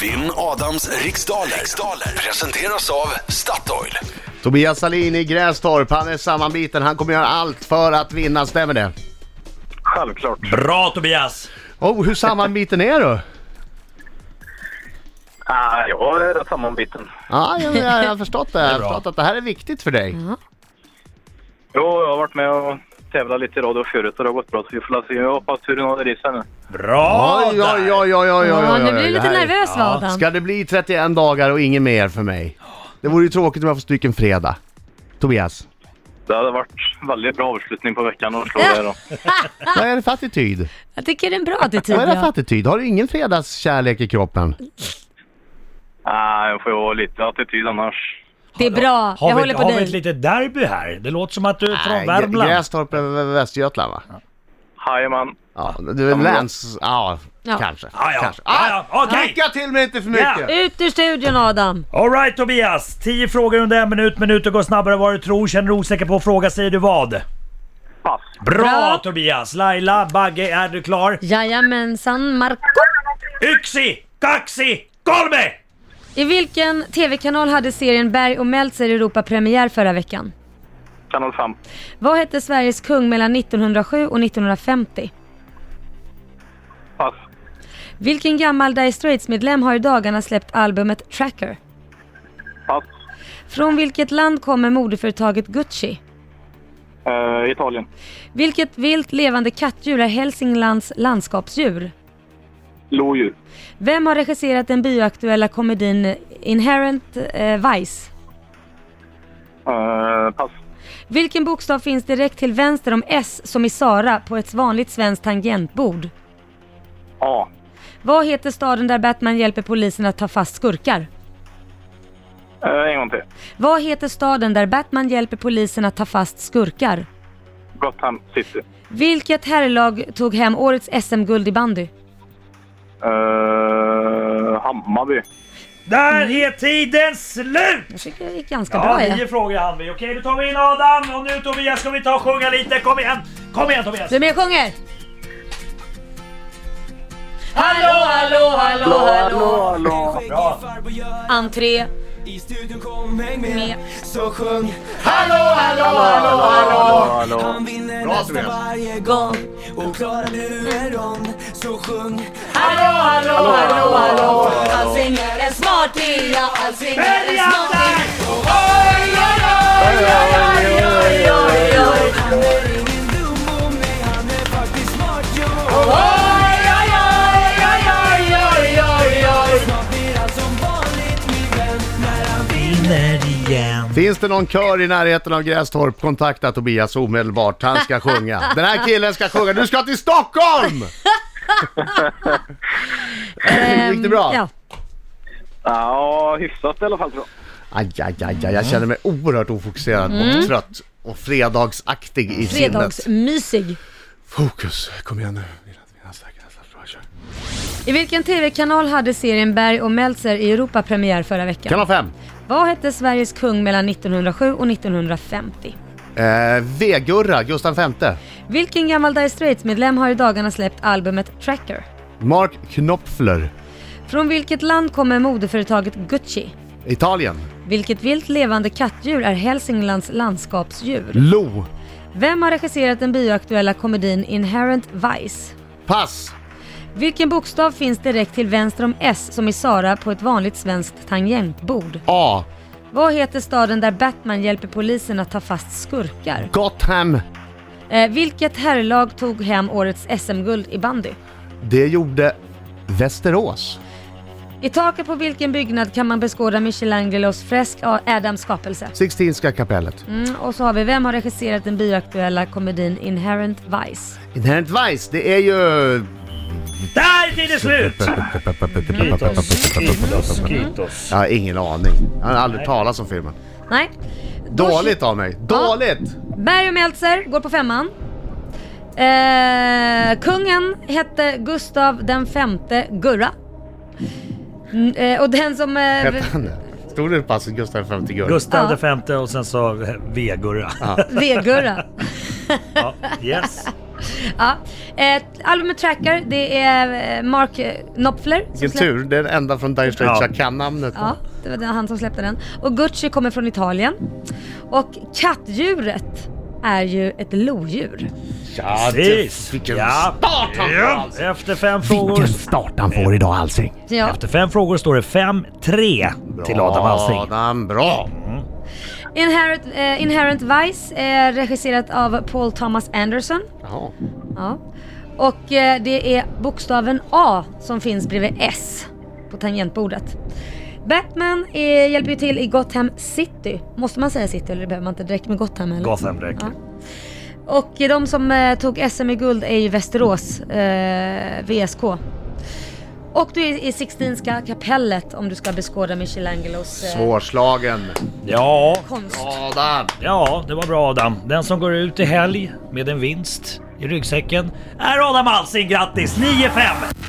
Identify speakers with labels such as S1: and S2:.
S1: Vinn Adams riksdaler. riksdaler presenteras av Statoil.
S2: Tobias Salin i Grästorp, han är sammanbiten. Han kommer göra allt för att vinna, stämmer det?
S3: Självklart.
S4: Bra Tobias!
S2: Oh, hur sammanbiten är du?
S3: Ah, jag är rätt sammanbiten.
S2: Ja, jag, jag, jag har förstått det. Jag har
S4: bra.
S2: förstått att det här är viktigt för dig.
S3: Jo, jag har varit med och tävlat lite i radio förut och det har gått bra så vi får la se. Jag hoppas turen håller i sig nu.
S4: Bra
S2: Oj,
S4: där!
S2: oj, oj, oj, oj, oj,
S5: Ja,
S2: oj,
S5: nu
S2: oj.
S5: blir du
S2: Det
S5: lite
S2: här är-
S5: nervös va Adam?
S2: Ska det bli 31 dagar och inget mer för mig? Det vore ju tråkigt om jag får stryk en fredag. Tobias,
S3: Det hade varit väldigt bra avslutning på veckan att slå det då.
S2: vad är det för attityd?
S5: Jag tycker det är en bra attityd.
S2: Vad är det för
S5: ja.
S2: attityd? Har du ingen fredagskärlek i kroppen?
S3: Nej, Äh, jag får ju ha lite attityd annars.
S5: Det är bra,
S4: Har
S5: jag
S4: vi,
S5: håller på
S4: har vi ett
S5: dig.
S4: litet derby här? Det låter som att du är
S2: Nej,
S4: från
S2: Gr-
S4: Värmland.
S2: Grästorp är Vä- Vä- Västergötland va?
S3: Jajamän.
S2: Ja, du är
S3: men-
S2: läns... Ja,
S5: Ja.
S2: kanske.
S4: Ja, ja.
S2: Kanske. Ah,
S4: Ja, ja. Okej.
S2: Lycka till men inte för mycket!
S5: Ut ur studion Adam!
S4: Alright Tobias! 10 frågor under en minut, minuter går snabbare än vad du tror. Känner du osäker på fråga säger du vad? Bra,
S3: Pass.
S5: Bra.
S4: Tobias! Laila, Bagge, är du klar?
S5: Jajamensan Marco.
S4: Yxi, kaxi, kolme!
S5: I vilken tv-kanal hade serien Berg och Meltzer Europa premiär förra veckan?
S3: Kanal 5.
S5: Vad hette Sveriges kung mellan 1907 och 1950?
S3: Pass.
S5: Vilken gammal Dire Straits-medlem har i dagarna släppt albumet Tracker?
S3: Pass.
S5: Från vilket land kommer modeföretaget Gucci?
S3: Eh, Italien.
S5: Vilket vilt levande kattdjur är Hälsinglands landskapsdjur?
S3: Lodjur.
S5: Vem har regisserat den bioaktuella komedin Inherent eh, Vice?
S3: Eh, pass.
S5: Vilken bokstav finns direkt till vänster om S som i Sara på ett vanligt svenskt tangentbord?
S3: A.
S5: Vad heter staden där Batman hjälper polisen att ta fast skurkar?
S3: Eh, en gång till.
S5: Vad heter staden där Batman hjälper polisen att ta fast skurkar?
S3: Gotham City.
S5: Vilket herrlag tog hem årets SM-guld i bandy?
S3: Eh, Hammarby.
S4: Där är tiden slut!
S5: Jag tycker det gick ganska
S4: Ja,
S5: Mm. bra ja.
S4: nio frågor hann vi. Okej, då tar vi in Adam och nu Tobias ska vi ta och sjunga lite. Kom igen! Kom igen Tobias!
S5: Du med och sjunger?
S6: Hallå, hallå, hallå, hallå
S3: hallå.
S6: Bra.
S5: Entré.
S6: I studion kom häng med,
S5: Med.
S6: Så sjung
S3: Hallå, hallå, hallå.
S6: Han vinner nästan
S2: Tobias.
S6: varje gång Och klarar nu en rond Så sjung
S4: Hallå, hallå, hallå!
S6: Han svingar en smarting Ja, han svingar en
S4: Börja där!
S6: smarting
S4: Oj, oj, oj, oj, oj, oj, oj, oj.
S6: Han är ingen dumbo Nej, han är faktiskt smart jo Snart blir allt som vanligt min vän När han vinner
S2: Finns det någon kör i närheten av Grästorp, kontakta Tobias omedelbart. Han ska sjunga. Den här killen ska sjunga. Du ska till Stockholm! Gick det bra?
S5: Ehm, Ja.
S3: Ja, hyfsat i alla fall tror jag.
S2: Aj, aj, aj, aj. Jag känner mig oerhört ofokuserad och trött och fredagsaktig i sinnet.
S5: Fredagsmysig.
S2: Fokus, kom igen nu. Nästa, nästa, bra, kör.
S5: I vilken TV-kanal hade serien Berg och Meltzer i Europa premiär förra veckan?
S2: Kanal 5.
S5: Vad hette Sveriges kung mellan 1907 och 1950?
S2: Eh, V-Gurra, Gustav V.
S5: Vilken gammal Dire Straits-medlem har i dagarna släppt albumet Tracker?
S2: Mark Knopfler,
S5: Från vilket land kommer modeföretaget Gucci?
S2: Italien.
S5: Vilket vilt levande kattdjur är Hälsinglands landskapsdjur?
S2: Lo,
S5: Vem har regisserat den bioaktuella komedin Inherent Vice?
S2: pass.
S5: Vilken bokstav finns direkt till vänster om S som i Sara på ett vanligt svenskt tangentbord?
S2: A.
S5: Vad heter staden där Batman hjälper polisen att ta fast skurkar?
S2: Gotham.
S5: Eh, vilket herrlag tog hem årets SM-guld i bandy?
S2: Det gjorde Västerås.
S5: I taket på vilken byggnad kan man beskåda Michelangelos fresk av Adams skapelse?
S2: Sixtinska kapellet.
S5: Mm, och så har vi, vem har regisserat den bioaktuella komedin Inherent Vice?
S2: Inherent Vice, det är ju...
S4: Där är tiden slut!
S2: Jag har ingen aning. Jag har aldrig talat om filmen.
S5: Nej. Då-
S2: Dåligt av mig. Dåligt!
S5: Berg och Meltzer går på femman. Eh, kungen hette Gustav den femte Gurra. Mm, eh, och den som... Eh,
S2: Hette han det? Stod det i passet Gustav V till Gurra?
S4: Gustav
S5: Ja.
S4: ja. femte och sen så V-Gurra.
S5: V-Gurra.
S4: Ja, yes.
S5: Ja. Eh, albumet trackar, det är eh, Mark eh, Knopfler som
S2: Vilken
S5: släpper-
S2: tur, det är den enda från Dire Straits
S4: Ja.
S2: jag kan namnet på.
S5: Ja, det var den- han som släppte den. Och Gucci kommer från Italien. Och kattdjuret är ju ett lodjur.
S2: Ja,
S4: Precis.
S2: Vilken
S4: Ja.
S2: start han får
S4: Ja,
S2: alltså.
S4: efter fem frågor...
S2: Vilken start han får idag Alsing.
S5: Ja.
S4: Efter fem frågor står det 5-3 till Adam Alsing.
S2: Adam, bra.
S5: Inherent, eh, Inherent Vice är regisserat av Paul Thomas Anderson.
S2: Jaha.
S5: Ja. Och eh, det är bokstaven A som finns bredvid S på tangentbordet. Batman eh, hjälper ju till i Gotham City. Måste man säga City eller behöver man inte? Det räcker med Gotham eller?
S4: Gotham räcker.
S5: Och de som eh, tog SM i guld är ju Västerås, eh, VSK. Och du är i Sixtinska kapellet om du ska beskåda Michelangelos eh,
S2: Svårslagen.
S4: Ja,
S5: konst.
S2: Adam.
S4: ja, det var bra Adam. Den som går ut i helg med en vinst i ryggsäcken är Adam Alsing. Grattis! 9-5!